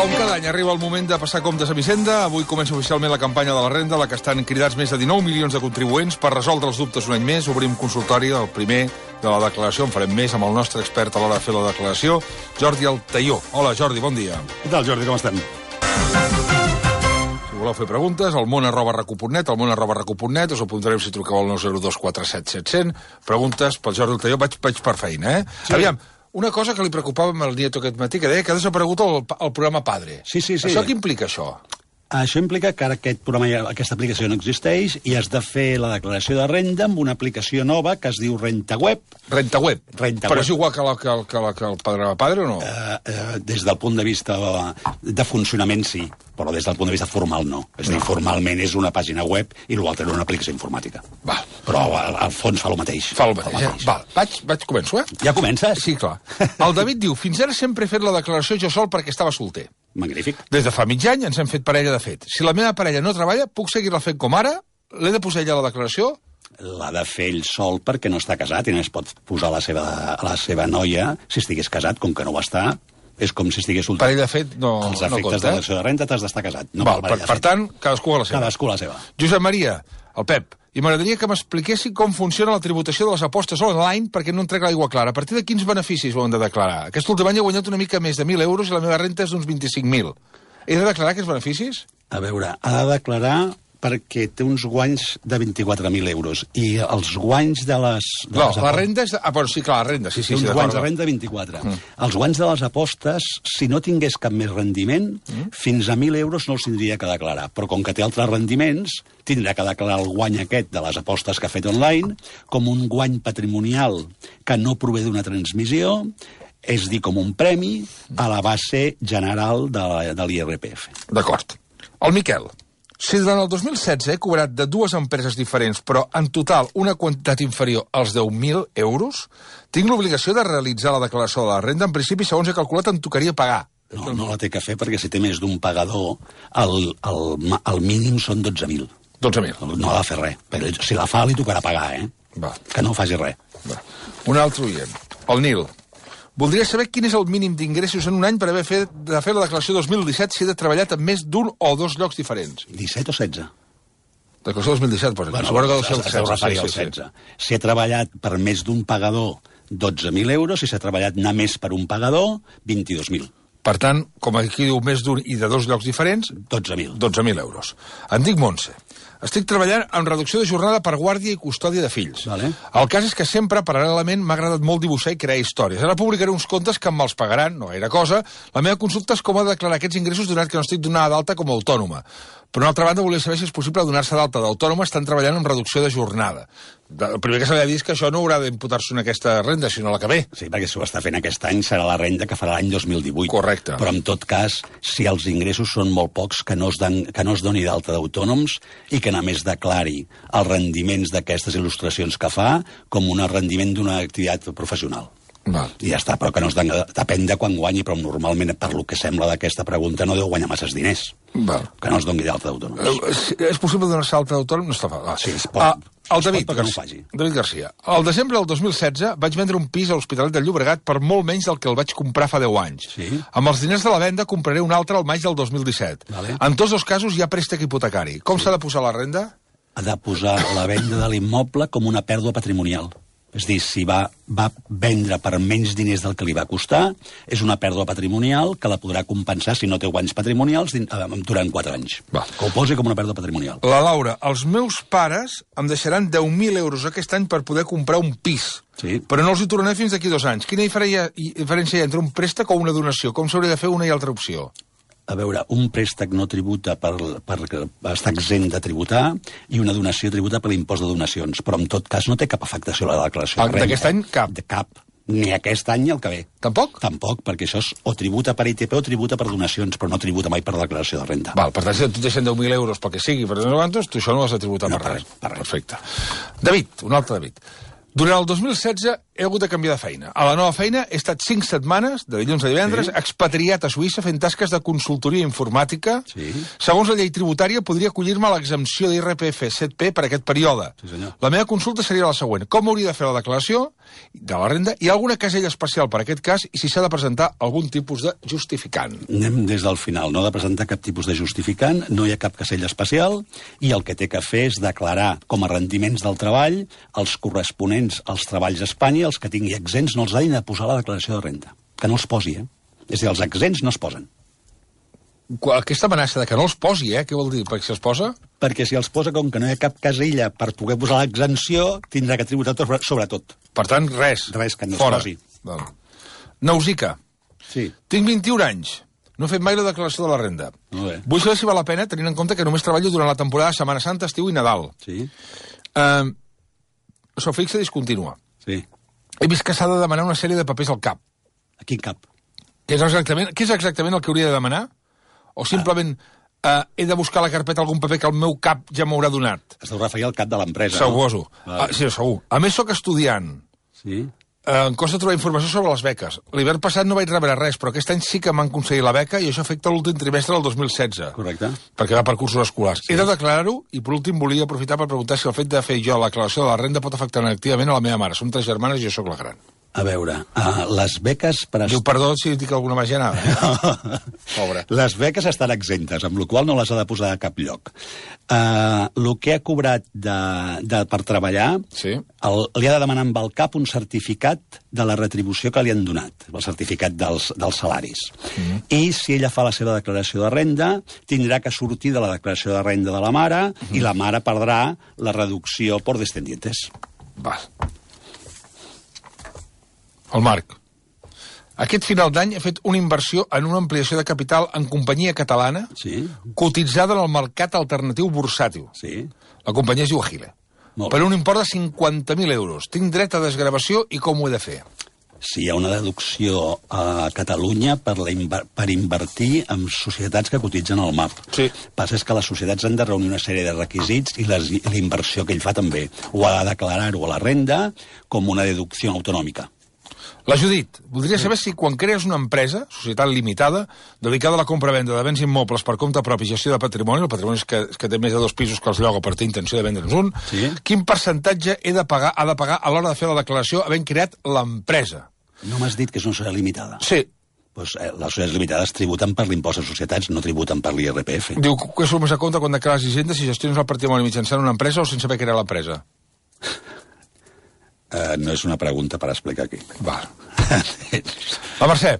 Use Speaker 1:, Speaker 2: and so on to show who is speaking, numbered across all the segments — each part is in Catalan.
Speaker 1: Com cada any arriba el moment de passar comptes a Vicenda, avui comença oficialment la campanya de la renda, a la que estan cridats més de 19 milions de contribuents per resoldre els dubtes un any més. Obrim consultori del primer de la declaració, en farem més amb el nostre expert a l'hora de fer la declaració, Jordi Altaió. Hola, Jordi, bon dia.
Speaker 2: Què tal, Jordi, com estem?
Speaker 1: Si voleu fer preguntes, al món arroba recu.net, al món arroba recu.net, us apuntarem si truqueu al 902477700. Preguntes pel Jordi Altaió, vaig, vaig per feina, eh? Sí. Aviam, una cosa que li preocupava amb el Nieto aquest matí, que deia que ha desaparegut el, el programa Padre.
Speaker 2: Sí, sí, sí.
Speaker 1: Això què implica, això?
Speaker 2: Això implica que ara aquest programa, ja- aquesta aplicació no existeix i has de fer la declaració de renda amb una aplicació nova que es diu eh, RentaWeb.
Speaker 1: Rentaweb.
Speaker 2: Rentaweb.
Speaker 1: Però és igual que, la, que, el- que, la, que el Padre Padre o no?
Speaker 2: Eh, eh, des del punt de vista eh, de funcionament, sí, però des del punt de vista formal, no. És a dir, formalment és una pàgina web i l'altra era una aplicació informàtica.
Speaker 1: Val.
Speaker 2: Però al, al fons fa el mateix.
Speaker 1: Fa el mateix, eh? Val, vaig, vaig començo, eh?
Speaker 2: Ja comences?
Speaker 1: Sí, clar. El David diu, fins ara sempre he fet la declaració jo sol perquè estava solter.
Speaker 2: Magnífic.
Speaker 1: Des de fa mig any ens hem fet parella de fet. Si la meva parella no treballa, puc seguir-la fent com ara? L'he de posar ja a la declaració?
Speaker 2: l'ha de fer ell sol perquè no està casat i no es pot posar la seva, la seva noia si estigués casat, com que no ho està és com si estigués solter.
Speaker 1: Parella de fet no,
Speaker 2: Els
Speaker 1: no
Speaker 2: efectes de
Speaker 1: compta, eh?
Speaker 2: l'acció de renta t'has d'estar casat. No
Speaker 1: Val, per,
Speaker 2: parella de
Speaker 1: per
Speaker 2: fet.
Speaker 1: tant, cadascú a la seva.
Speaker 2: Cadascú la seva.
Speaker 1: Josep Maria, el Pep, i m'agradaria que m'expliquessin com funciona la tributació de les apostes online perquè no entrec l'aigua clara. A partir de quins beneficis ho hem de declarar? Aquest últim any he guanyat una mica més de 1.000 euros i la meva renta és d'uns 25.000. He de declarar aquests beneficis?
Speaker 2: A veure, ha de declarar perquè té uns guanys de 24.000 euros i els guanys de les... De
Speaker 1: No,
Speaker 2: les
Speaker 1: la
Speaker 2: apo-
Speaker 1: renda és... De... Ah, bueno, sí, clar, la renda, sí, sí. sí,
Speaker 2: té
Speaker 1: Mm.
Speaker 2: uns
Speaker 1: d'acord,
Speaker 2: guanys de
Speaker 1: d'acord.
Speaker 2: renda de 24. Els guanys de les apostes, si no tingués cap més rendiment,
Speaker 1: Mm.
Speaker 2: fins a 1.000 euros no els tindria que declarar. Però com que té altres rendiments, tindrà que declarar el guany aquest de les apostes que ha fet online com un guany patrimonial que no prové d'una transmissió, és a dir, com un premi a la base general de, la- de l'IRPF.
Speaker 1: D'acord. El Miquel. Si durant el 2016 he cobrat de dues empreses diferents, però en total una quantitat inferior als 10.000 euros, tinc l'obligació de realitzar la declaració de la renda. En principi, segons he calculat, em tocaria pagar.
Speaker 2: No, no la té que fer perquè si té més d'un pagador, el, el, ma- el mínim són 12.000.
Speaker 1: 12.000.
Speaker 2: No ha de fer res. Però si la fa, li tocarà pagar, eh?
Speaker 1: Va.
Speaker 2: Que no faci res.
Speaker 1: Va. Un altre oient. El Nil. Voldria saber quin és el mínim d'ingressos en un any per haver fet, de fer la declaració 2017 si he de treballat en més d'un o dos llocs diferents.
Speaker 2: 17 o 16?
Speaker 1: Declaració 2017, per exemple. Suposo que
Speaker 2: es, es deu referir al 16. Si ha treballat per més d'un pagador, 12.000 euros. Si s'ha treballat només per un pagador, 22.000.
Speaker 1: Per tant, com aquí diu més d'un i de dos llocs diferents,
Speaker 2: 12.000.
Speaker 1: 12.000 euros. Em dic Montse. Estic treballant amb reducció de jornada per guàrdia i custòdia de fills.
Speaker 2: Vale.
Speaker 1: El cas és que sempre, paral·lelament, m'ha agradat molt dibuixar i crear històries. Ara publicaré uns comptes que me'ls pagaran, no gaire cosa. La meva consulta és com ha de declarar aquests ingressos donat que no estic donada d'alta com a autònoma. Per una altra banda, volia saber si és possible donar-se d'alta d'autònoma estan treballant amb reducció de jornada. De- El primer que s'ha de dir és que això no haurà d'imputar-se en aquesta renda, sinó la que ve.
Speaker 2: Sí, perquè si ho està fent aquest any serà la renda que farà l'any 2018.
Speaker 1: Correcte.
Speaker 2: Però en tot cas, si els ingressos són molt pocs, que no es, dan, que no es doni d'alta d'autònoms i que només declari els rendiments d'aquestes il·lustracions que fa com un rendiment d'una activitat professional.
Speaker 1: Val.
Speaker 2: I ja està, però que no es dan... Depèn de quan guanyi, però normalment, per lo que sembla d'aquesta pregunta, no deu guanyar masses diners.
Speaker 1: Val.
Speaker 2: Que no es doni d'autònoms. d'autònoms.
Speaker 1: Eh, si- És possible donar-se alta d'autònom? No està fa. Ah,
Speaker 2: Sí, es pot.
Speaker 1: el
Speaker 2: Es pot,
Speaker 1: David,
Speaker 2: però que no ho
Speaker 1: Garcia-
Speaker 2: faci.
Speaker 1: David Garcia. El desembre del 2016 vaig vendre un pis a l'Hospitalet de Llobregat per molt menys del que el vaig comprar fa 10 anys.
Speaker 2: Sí.
Speaker 1: Amb els diners de la venda compraré un altre al maig del 2017.
Speaker 2: Vale.
Speaker 1: En tots els casos hi ha préstec hipotecari. Com s'ha de posar la renda?
Speaker 2: Ha de posar la venda de l'immoble com una pèrdua patrimonial. És a dir, si va, va vendre per menys diners del que li va costar, és una pèrdua patrimonial que la podrà compensar si no té guanys patrimonials din- eh, durant 4 anys.
Speaker 1: Va.
Speaker 2: Que ho posi com una pèrdua patrimonial.
Speaker 1: La Laura, els meus pares em deixaran 10.000 euros aquest any per poder comprar un pis.
Speaker 2: Sí.
Speaker 1: Però no els hi tornaré fins d'aquí dos anys. Quina diferència hi diferència hi ha entre un préstec o una donació? Com s'hauria de fer una i altra opció?
Speaker 2: A veure, un préstec no tributa per, per estar exempt de tributar i una donació tributa per l'impost de donacions, però en tot cas no té cap afectació a la declaració
Speaker 1: Ah,
Speaker 2: de renda.
Speaker 1: d'aquest any, cap.
Speaker 2: De cap. ni aquest any ni el que ve.
Speaker 1: Tampoc?
Speaker 2: Tampoc, perquè això és o tributa per ITP o tributa per donacions, però no tributa mai per declaració de renta.
Speaker 1: Val, per tant, si a tu et deixen 10.000 euros pel que sigui, per no sé quantos, tu això no ho has de tributar
Speaker 2: No,
Speaker 1: per,
Speaker 2: per
Speaker 1: res.
Speaker 2: res, per res.
Speaker 1: Perfecte. David, un altre David. Durant el 2016 he hagut de canviar de feina. A la nova feina he estat 5 setmanes, de dilluns a divendres, sí. expatriat a Suïssa fent tasques de consultoria informàtica.
Speaker 2: Sí.
Speaker 1: Segons la llei tributària, podria acollir-me a l'exempció d'IRPF 7P per aquest període.
Speaker 2: Sí, senyor.
Speaker 1: La meva consulta seria la següent. Com hauria de fer la declaració de la renda? Hi ha alguna casella especial per a aquest cas? I si s'ha de presentar algun tipus de justificant?
Speaker 2: Anem des del final, no ha de presentar cap tipus de justificant, no hi ha cap casella especial, i el que té que fer és declarar com a rendiments del treball els corresponents als treballs a Espanya, els que tingui exempts no els ha ni de posar a la declaració de renta, que no els posi, eh? És a dir, els exempts no es posen.
Speaker 1: Qua- Aquesta amenaça de que no els posi, eh? Què vol dir? Perquè si els posa...
Speaker 2: Perquè si els posa, com que no hi ha cap casella per poder posar l'exempció, tindrà que tributar tot, sobretot.
Speaker 1: Per tant, res.
Speaker 2: Res que no es
Speaker 1: Fora.
Speaker 2: posi.
Speaker 1: Val. Nausica,
Speaker 2: Sí.
Speaker 1: tinc 21 anys. No he fet mai la declaració de la renda.
Speaker 2: Molt bé.
Speaker 1: Vull saber si val la pena, tenint en compte que només treballo durant la temporada de Setmana Santa, estiu i Nadal.
Speaker 2: Sí,
Speaker 1: Eh, Sofixa discontínua.
Speaker 2: sí.
Speaker 1: He vist que s'ha de demanar una sèrie de papers al CAP.
Speaker 2: A quin cap?
Speaker 1: Què és exactament, què és exactament el que hauria de demanar? O simplement eh, he de buscar a la carpeta algun paper que el meu CAP ja m'haurà donat?
Speaker 2: Es deu referir al cap de l'empresa, no?
Speaker 1: Suposo.
Speaker 2: Val.
Speaker 1: Ah, sí, segur. A més, sóc estudiant.
Speaker 2: Sí.
Speaker 1: Eh, Em costa trobar informació sobre les beques. L'hivern passat no vaig rebre res, però aquest any sí que m'han aconseguit la beca i això afecta l'últim trimestre del 2016.
Speaker 2: Correcte.
Speaker 1: Perquè va per cursos escolars. Sí. He de declarar-ho i, per últim, volia aprofitar per preguntar si el fet de fer jo la declaració de la renda pot afectar negativament a la meva mare. Som tres germanes i jo sóc la gran.
Speaker 2: A veure, uh, les beques per...
Speaker 1: Diu, perdó si dic alguna bajanada. Pobre.
Speaker 2: Les beques estan exemptes, amb la qual cosa no les ha de posar a cap lloc. Uh, el que ha cobrat de, de, per treballar,
Speaker 1: Sí.
Speaker 2: el, li ha de demanar amb el CAP un certificat de la retribució que li han donat, el certificat dels, dels salaris. Mm. I si ella fa la seva declaració de renda, tindrà que sortir de la declaració de renda de la mare mm. i la mare perdrà la reducció por descendientes.
Speaker 1: Val. El Marc. Aquest final d'any he fet una inversió en una ampliació de capital en companyia catalana
Speaker 2: Sí,
Speaker 1: cotitzada en el mercat alternatiu bursàtil.
Speaker 2: sí.
Speaker 1: La companyia es diu Agile.
Speaker 2: Molt bé.
Speaker 1: Per un import de 50.000 euros. Tinc dret a desgravació i com ho he de fer?
Speaker 2: si hi ha una deducció a Catalunya per, la inver per invertir en societats que cotitzen al MAP.
Speaker 1: Sí.
Speaker 2: Passa és que les societats han de reunir una sèrie de requisits i les, i la inversió que ell fa també. Ho ha de declarar-ho a la renda com una deducció autonòmica.
Speaker 1: La Judit, voldria saber si quan crees una empresa, societat limitada, dedicada a la compra-venda de béns immobles per compte propi i gestió de patrimoni, el patrimoni és que, és que té més de dos pisos que els lloga per tenir intenció de vendre'ns un,
Speaker 2: Sí.
Speaker 1: quin percentatge he de pagar, ha de pagar a l'hora de fer la declaració havent creat l'empresa?
Speaker 2: No m'has dit que és una societat limitada.
Speaker 1: Sí,
Speaker 2: Pues, eh, les societats limitades tributen per l'impost de societats, no tributen per l'IRPF.
Speaker 1: diu que surt més a compte quan declares hisenda si gestiones el patrimoni mitjançant una empresa o sense haver creat l'empresa.
Speaker 2: Eh, no és una pregunta per explicar aquí.
Speaker 1: Val. La Ah, Mercè,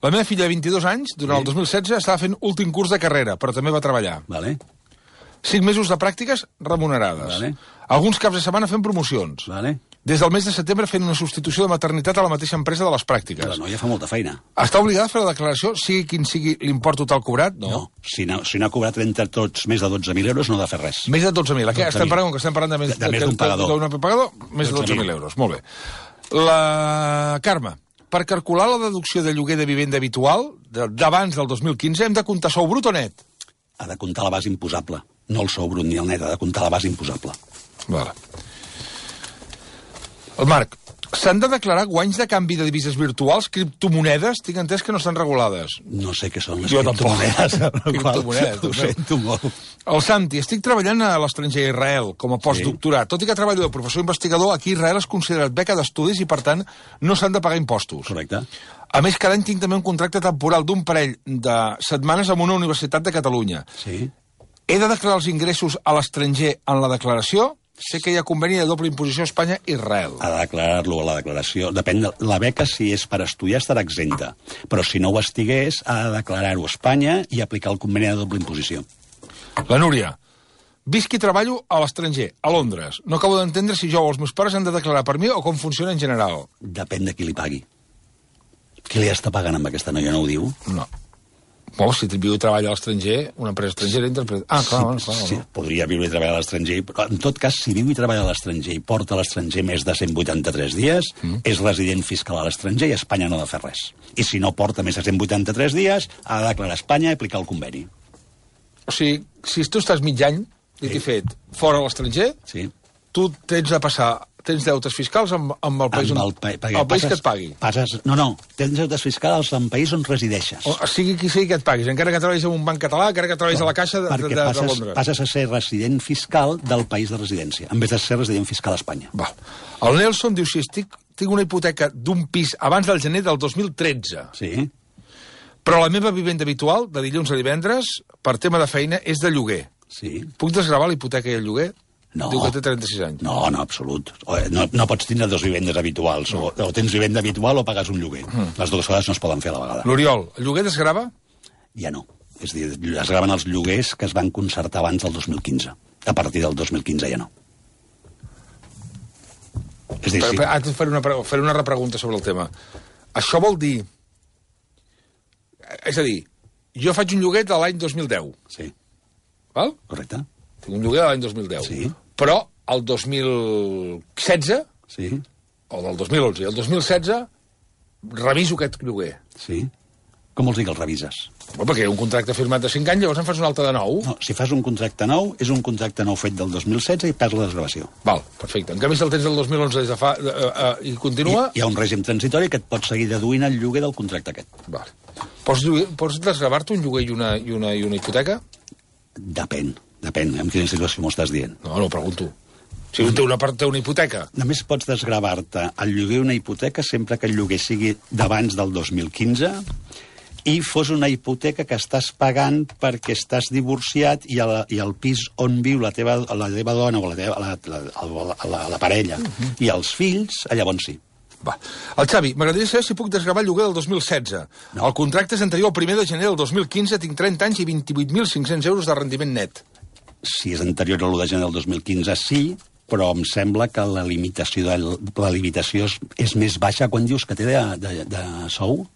Speaker 1: la meva filla de 22 anys, durant el 2016, estava fent últim curs de carrera, però també va treballar.
Speaker 2: vale?
Speaker 1: 5 mesos de pràctiques remunerades.
Speaker 2: Vale.
Speaker 1: Alguns caps de setmana fent promocions.
Speaker 2: Vale?
Speaker 1: Des del mes de setembre fent una substitució de maternitat a la mateixa empresa de les
Speaker 2: La
Speaker 1: pràctiques.
Speaker 2: noia fa molta feina.
Speaker 1: Està obligada a fer la declaració, sigui quin sigui l'import total cobrat?
Speaker 2: No. Si no, si no ha cobrat entre tots més de 12.000 euros, no ha de fer res.
Speaker 1: Més de 12.000. Aquí
Speaker 2: 12.000.
Speaker 1: estem parlant, que estem parlant de més
Speaker 2: De- de més d'un pagador.
Speaker 1: d'un pagador, més de
Speaker 2: 12.000.
Speaker 1: 12.000 euros. Molt bé. La Carme, per calcular la deducció de lloguer de vivenda habitual de- d'abans del 2015 hem de comptar sou brut o net?
Speaker 2: ha de comptar la base imposable. No el sou brut ni el net, ha de comptar la base imposable.
Speaker 1: Vale. El Marc, s'han de declarar guanys de canvi de divises virtuals, criptomonedes? Tinc entès que no estan regulades.
Speaker 2: No sé què són les
Speaker 1: Jo tampoc.
Speaker 2: criptomonedes. amb la qual
Speaker 1: Criptomonedes,
Speaker 2: Ho
Speaker 1: doncs no.
Speaker 2: sento molt.
Speaker 1: El Santi, estic treballant a l'estranger a Israel com a postdoctorat. Tot i que treballo de professor investigador, aquí a Israel és considerat beca d'estudis i, per tant, no s'han de pagar impostos.
Speaker 2: Correcte.
Speaker 1: A més, cada any tinc també un contracte temporal d'un parell de setmanes amb una universitat de Catalunya.
Speaker 2: Sí.
Speaker 1: He de declarar els ingressos a l'estranger en la declaració? Sé que hi ha conveni de doble imposició a Espanya i Israel.
Speaker 2: Ha de declarar-lo a la declaració. Depèn de la beca, si és per estudiar, estarà exempta. Però si no ho estigués, ha de declarar-ho a Espanya i aplicar el conveni de doble imposició.
Speaker 1: La Núria. Visc i treballo a l'estranger, a Londres. No acabo d'entendre si jo o els meus pares han de declarar per mi o com funciona en general.
Speaker 2: Depèn de qui li pagui. Qui li està pagant amb aquesta noia, no ho diu?
Speaker 1: No. Bueno, si viu i treballa a l'estranger, una empresa estrangera interpreta... Ah, clar, bueno, clar.
Speaker 2: Sí,
Speaker 1: Sí.
Speaker 2: podria viure i treballar a l'estranger, però en tot cas, si viu i treballa a l'estranger i porta a l'estranger més de 183 dies, mm. és resident fiscal a l'estranger i Espanya no ha de fer res. I si no porta més de 183 dies, ha de declarar a Espanya i aplicar el conveni.
Speaker 1: O sigui, si tu estàs mig any, dit i fet, fora a l'estranger,
Speaker 2: Sí?
Speaker 1: tu tens de passar tens deutes fiscals amb, amb el país,
Speaker 2: Amb
Speaker 1: on-
Speaker 2: pa-
Speaker 1: el país que et pagui.
Speaker 2: Passes, no, no, tens deutes fiscals en país on resideixes.
Speaker 1: O, sigui qui sigui que et paguis, encara que treballis en un banc català, encara que treballis a la caixa de, de,
Speaker 2: perquè
Speaker 1: de, de
Speaker 2: passes,
Speaker 1: Londres.
Speaker 2: passes a ser resident fiscal del país de residència, en vez de ser resident fiscal a Espanya.
Speaker 1: Val. El Nelson diu, si estic, tinc una hipoteca d'un pis abans del gener del 2013,
Speaker 2: Sí?
Speaker 1: però la meva vivenda habitual, de dilluns a divendres, per tema de feina, és de lloguer.
Speaker 2: Sí.
Speaker 1: Puc desgravar la hipoteca i el lloguer?
Speaker 2: No.
Speaker 1: Diu que té 36 anys.
Speaker 2: No, no, absolut. O, eh, No, no pots tindre dos vivendes habituals. O, o tens vivenda habitual o pagues un lloguer. Les dues coses no es poden fer a la vegada.
Speaker 1: L'Oriol, el lloguer desgrava?
Speaker 2: Ja no. És a dir, es graven els lloguers que es van concertar abans del 2015. A partir del 2015 ja no. És a dir,
Speaker 1: Sí.
Speaker 2: sí,
Speaker 1: Ara et faré una, pre- faré una repregunta sobre el tema. Això vol dir... És a dir, jo faig un lloguer de l'any 2010,
Speaker 2: sí,
Speaker 1: val?
Speaker 2: correcte.
Speaker 1: Tinc un lloguer de l'any 2010.
Speaker 2: Sí.
Speaker 1: Però el 2016,
Speaker 2: Sí,
Speaker 1: o del 2011, el 2016, reviso aquest lloguer.
Speaker 2: sí. Com vols dir que els revises?
Speaker 1: Bueno, perquè un contracte firmat de 5 anys, llavors en fas un altre de 9.
Speaker 2: No, si fas un contracte nou, és un contracte nou fet del 2016 i perds la desgravació.
Speaker 1: Val, perfecte. En canvi, si el tens del 2011 des de fa... Eh, eh, I
Speaker 2: Hi,
Speaker 1: continua...
Speaker 2: hi ha un règim transitori que et pot seguir deduint el lloguer del contracte aquest.
Speaker 1: Val. Pots, lloguer- pots desgravar-te un lloguer i una, i, una, i una hipoteca?
Speaker 2: Depèn, depèn eh, en quina situació m'ho estàs dient.
Speaker 1: No, no, ho pregunto. Si un té una, part, té una hipoteca,
Speaker 2: Només pots desgravar-te el lloguer una hipoteca sempre que el lloguer sigui d'abans del 2015 i fos una hipoteca que estàs pagant perquè estàs divorciat i, a la, i el pis on viu la teva, la teva dona o la, teva, la, la, la, la, la parella
Speaker 1: Mhm.
Speaker 2: i els fills, ah, llavors sí.
Speaker 1: Va. El Xavi, m'agradaria saber si puc desgravar el lloguer del 2016. No. El contracte és anterior al 1 de gener del 2015, tinc 30 anys i 28.500 euros de rendiment net.
Speaker 2: si és anterior a l'1 de gener del 2015, sí, però em sembla que la limitació, de, la limitació és, és més baixa quan dius que té de, de, de sou.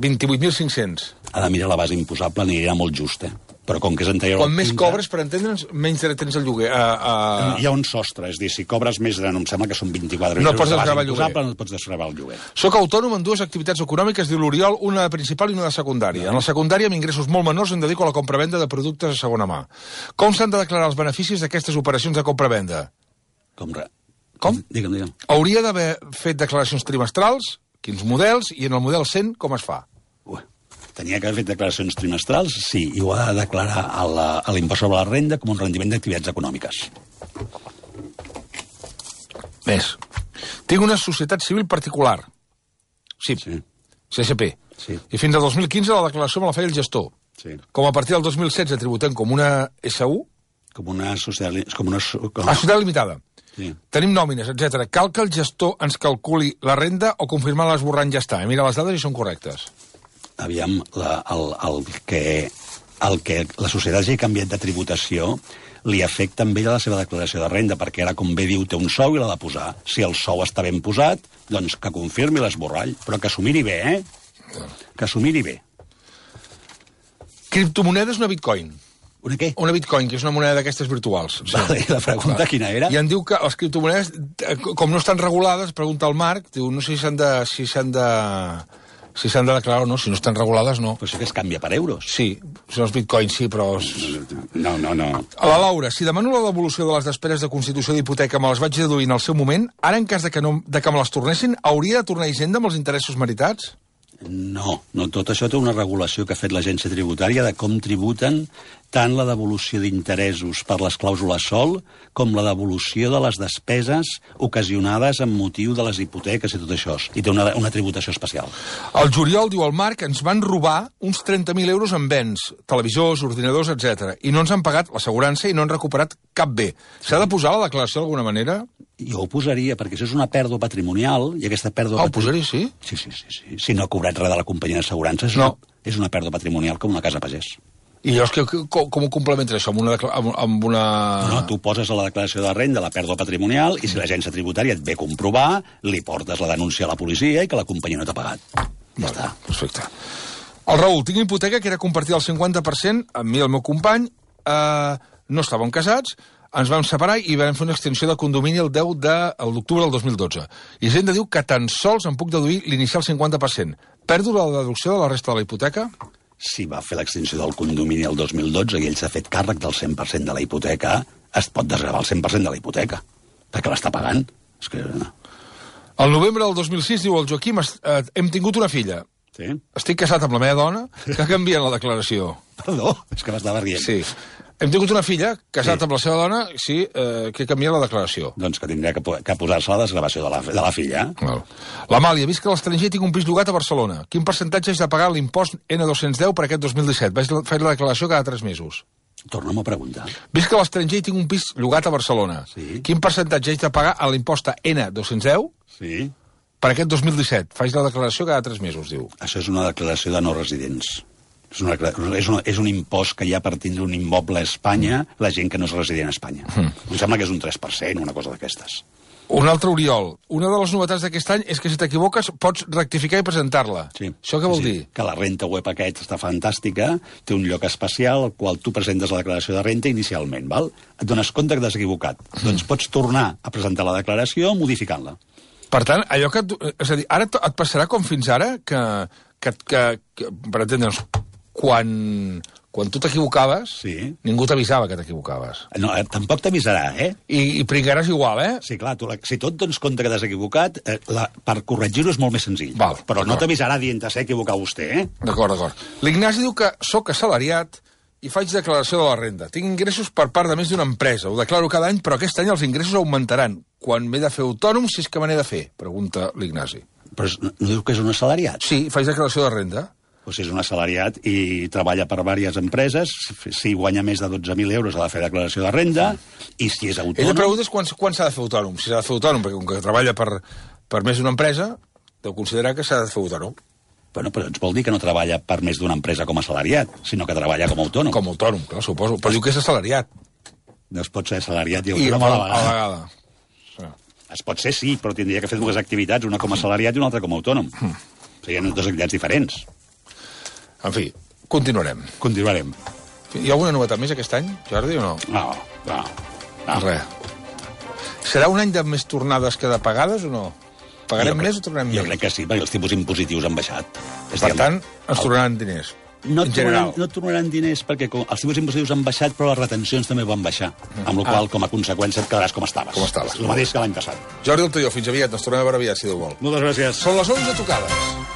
Speaker 1: 28.500.
Speaker 2: Ha de mirar la base imposable, anirà molt justa. Però com que és anterior... al
Speaker 1: Quan més
Speaker 2: 15,
Speaker 1: cobres, per entendre'ns, menys dret tens el lloguer. Uh,
Speaker 2: Hi ha un sostre, és a dir, si cobres més de... No, em sembla que són 24
Speaker 1: No
Speaker 2: euros
Speaker 1: pots
Speaker 2: de base
Speaker 1: desgravar el lloguer.
Speaker 2: imposable, no et pots desgravar el lloguer.
Speaker 1: uh... Soc autònom en dues activitats econòmiques, diu l'Oriol, una de principal i una de secundària. En la secundària, amb ingressos molt menors, em dedico a la compravenda de productes de segona mà. Com s'han de declarar els beneficis d'aquestes operacions de compravenda?
Speaker 2: Com? Re...
Speaker 1: Com?
Speaker 2: Digue'm, digue'm.
Speaker 1: Hauria d'haver fet declaracions trimestrals, quins models, i en el model 100, com es fa?
Speaker 2: Ué. Tenia que haver fet declaracions trimestrals, sí, i ho ha de declarar a la- a l'impost sobre la renda com un rendiment d'activitats econòmiques.
Speaker 1: Més. Tinc una societat civil particular. Sí,
Speaker 2: Sí,
Speaker 1: CSP.
Speaker 2: Sí.
Speaker 1: I fins al 2015 la declaració me la feia el gestor.
Speaker 2: sí.
Speaker 1: Com a partir del 2016 tributem com una S1,
Speaker 2: Com una societat... li- Com una... so- Com...
Speaker 1: a societat limitada.
Speaker 2: Sí.
Speaker 1: Tenim nòmines, etc. Cal que el gestor ens calculi la renda o confirmar l'esborrany ja està. Eh, Mira, les dades i són correctes.
Speaker 2: aviam, la, el, el, que, el que la societat hagi canviat de tributació li afecta també a la seva declaració de renda, perquè ara, com bé diu, té un sou i l'ha de posar. Si el sou està ben posat, doncs que confirmi l'esborrall, però que s'ho miri bé, eh? Que s'ho miri bé.
Speaker 1: Criptomonedes, una bitcoin.
Speaker 2: Una què?
Speaker 1: Una bitcoin, que és una moneda d'aquestes virtuals. Sí.
Speaker 2: Vale, la pregunta quina era?
Speaker 1: I en diu que les criptomonedes, eh, com no estan regulades, pregunta el Marc, diu, no sé si s'han de... Si s'han de si s'han de declarar o no, si no estan regulades, no.
Speaker 2: Però això que es canvia per euros.
Speaker 1: Sí, són els bitcoins, sí, però... és-
Speaker 2: No, no, no.
Speaker 1: A la Laura, si demano la devolució de les despeses de constitució d'hipoteca, me les vaig deduir en el seu moment, ara en cas de que, no, de que me les tornessin, hauria de tornar a Hisenda amb els interessos meritats?
Speaker 2: No, no tot això té una regulació que ha fet l'agència tributària de com tributen tant la devolució d'interessos per les clàusules sol com la devolució de les despeses ocasionades amb motiu de les hipoteques i tot això. I té una, una tributació especial.
Speaker 1: El juliol, diu el Marc, ens van robar uns 30.000 euros en béns, televisors, ordinadors, etc. I no ens han pagat l'assegurança i no han recuperat cap bé. S'ha de posar a la declaració d'alguna manera?
Speaker 2: Jo ho posaria, perquè això és una pèrdua patrimonial, i aquesta pèrdua...
Speaker 1: Ah, ho
Speaker 2: patri-
Speaker 1: posaré, sí?
Speaker 2: Sí, sí, sí, sí. Si no ha cobrat res de la companyia d'assegurances,
Speaker 1: No.
Speaker 2: és una pèrdua patrimonial com una casa pagès.
Speaker 1: I llavors, que, que, com, com ho complementes, això? Amb una... decla- Amb, amb una...
Speaker 2: No, tu poses a la declaració de renda la pèrdua patrimonial i si l'agència tributària et ve a comprovar, li portes la denúncia a la policia i que la companyia no t'ha pagat. Ja està.
Speaker 1: Perfecte. El Raül, tinc hipoteca que era compartir el 50% amb mi i el meu company. Eh, no estàvem casats, ens vam separar i vam fer una extensió de condomini el 10 de el d'octubre del 2012. I gent diu que tan sols em puc deduir l'inicial 50%. Perdo la deducció de la resta de la hipoteca?
Speaker 2: Si va fer l'extinció del condomini el 2012 i ell s'ha fet càrrec del 100% de la hipoteca, es pot desgravar el 100% de la hipoteca, perquè l'està pagant. És que...
Speaker 1: El novembre del 2006, diu el Joaquim, es- eh, hem tingut una filla.
Speaker 2: Sí?
Speaker 1: Estic casat amb la meva dona, que canvien la declaració.
Speaker 2: Perdó, és que m'estava rient.
Speaker 1: Sí. Hem tingut una filla, casat
Speaker 2: Sí.
Speaker 1: amb la seva dona, sí, eh, que canvia la declaració.
Speaker 2: Doncs que tindrà que, po- que posar-se la desgravació de la, de la filla.
Speaker 1: Val. L'Amàlia, visc a l'estranger i tinc un pis llogat a Barcelona. Quin percentatge és de pagar l'impost N210 per aquest 2017? Vaig la- fer la declaració cada 3 mesos.
Speaker 2: Torna'm a preguntar.
Speaker 1: Visc a l'estranger i tinc un pis llogat a Barcelona.
Speaker 2: Sí.
Speaker 1: Quin percentatge haig de pagar a l'impost N210
Speaker 2: Sí?
Speaker 1: per aquest 2017? Faig la declaració cada 3 mesos, diu.
Speaker 2: Això és una declaració de no residents. És, una, decla- és, una, és un impost que hi ha per tindre un immoble a Espanya la gent que no és resident a Espanya. Mm. Em sembla que és un 3%, una cosa d'aquestes.
Speaker 1: Un altre Oriol. Una de les novetats d'aquest any és que si t'equivoques pots rectificar i presentar-la. Això què vol
Speaker 2: sí,
Speaker 1: dir?
Speaker 2: Que la renta web aquest està fantàstica, té un lloc especial al qual tu presentes la declaració de renta inicialment, val? Et dones compte que t'has equivocat. Doncs pots tornar a presentar la declaració modificant-la.
Speaker 1: Per tant, allò que... tu- És a dir, ara to- et passarà com fins ara, que, que, que, que per entendre'ns, quan, quan tu t'equivocaves,
Speaker 2: Sí.
Speaker 1: ningú t'avisava que t'equivocaves.
Speaker 2: No, eh, tampoc t'avisarà, eh?
Speaker 1: I, I pringaràs igual, eh?
Speaker 2: Sí, clar, tu, la, si tu et dones compte que t'has equivocat, eh, la, per corregir-ho és molt més senzill.
Speaker 1: Val,
Speaker 2: Però no
Speaker 1: d'acord.
Speaker 2: t'avisarà dient que s'ha equivocat vostè, eh?
Speaker 1: D'acord, d'acord. L'Ignasi diu que sóc assalariat i faig declaració de la renda. Tinc ingressos per part de més d'una empresa. Ho declaro cada any, però aquest any els ingressos augmentaran. Quan m'he de fer autònom, si és que me n'he de fer? Pregunta l'Ignasi.
Speaker 2: Però és- no no diu que és un assalariat?
Speaker 1: Sí, faig declaració de renda.
Speaker 2: O sigui, és un assalariat i treballa per diverses empreses, si- si guanya més de 12.000 euros ha de fer declaració de renda, i si és autònom...
Speaker 1: Ella pregunta és quan, quan s'ha de fer autònom. Si s'ha de fer autònom, perquè com que treballa per, per més d'una empresa, deu considerar que s'ha de fer autònom.
Speaker 2: Bueno, però ens vol dir que no treballa per més d'una empresa com a assalariat, sinó que treballa com a autònom.
Speaker 1: Com a autònom, clar, suposo. Però diu que és assalariat.
Speaker 2: No es pot ser assalariat i
Speaker 1: I a la,
Speaker 2: autònom
Speaker 1: a
Speaker 2: a
Speaker 1: la
Speaker 2: la vegada.
Speaker 1: vegada.
Speaker 2: Es pot ser, sí, però tindria que fer dues activitats, una com a assalariat i una altra com a autònom. O sigui, hi ha dues activitats diferents.
Speaker 1: En fi, continuarem.
Speaker 2: Continuarem.
Speaker 1: Hi ha alguna novetat més aquest any, Jordi, o no?
Speaker 2: No, no, no.
Speaker 1: Res. Serà un any de més tornades que de pagades o no? Pagarem
Speaker 2: Jo crec-
Speaker 1: més o tornarem
Speaker 2: Jo
Speaker 1: més?
Speaker 2: crec que sí, perquè els tipus impositius han baixat. És
Speaker 1: Per
Speaker 2: dir,
Speaker 1: tant, ens tornaran diners.
Speaker 2: no
Speaker 1: en
Speaker 2: tornaran,
Speaker 1: general.
Speaker 2: no tornaran diners perquè com, els tipus impositius han baixat, però les retencions també van baixar. Amb la qual cosa, com a conseqüència, et quedaràs com estaves.
Speaker 1: Mm-hmm. Ah. Com estaves.
Speaker 2: El mateix que l'any passat.
Speaker 1: Jordi Altaió, fins aviat. Ens tornem a veure aviat, si Déu vol.
Speaker 2: Moltes gràcies.
Speaker 1: Són les 11 tocades.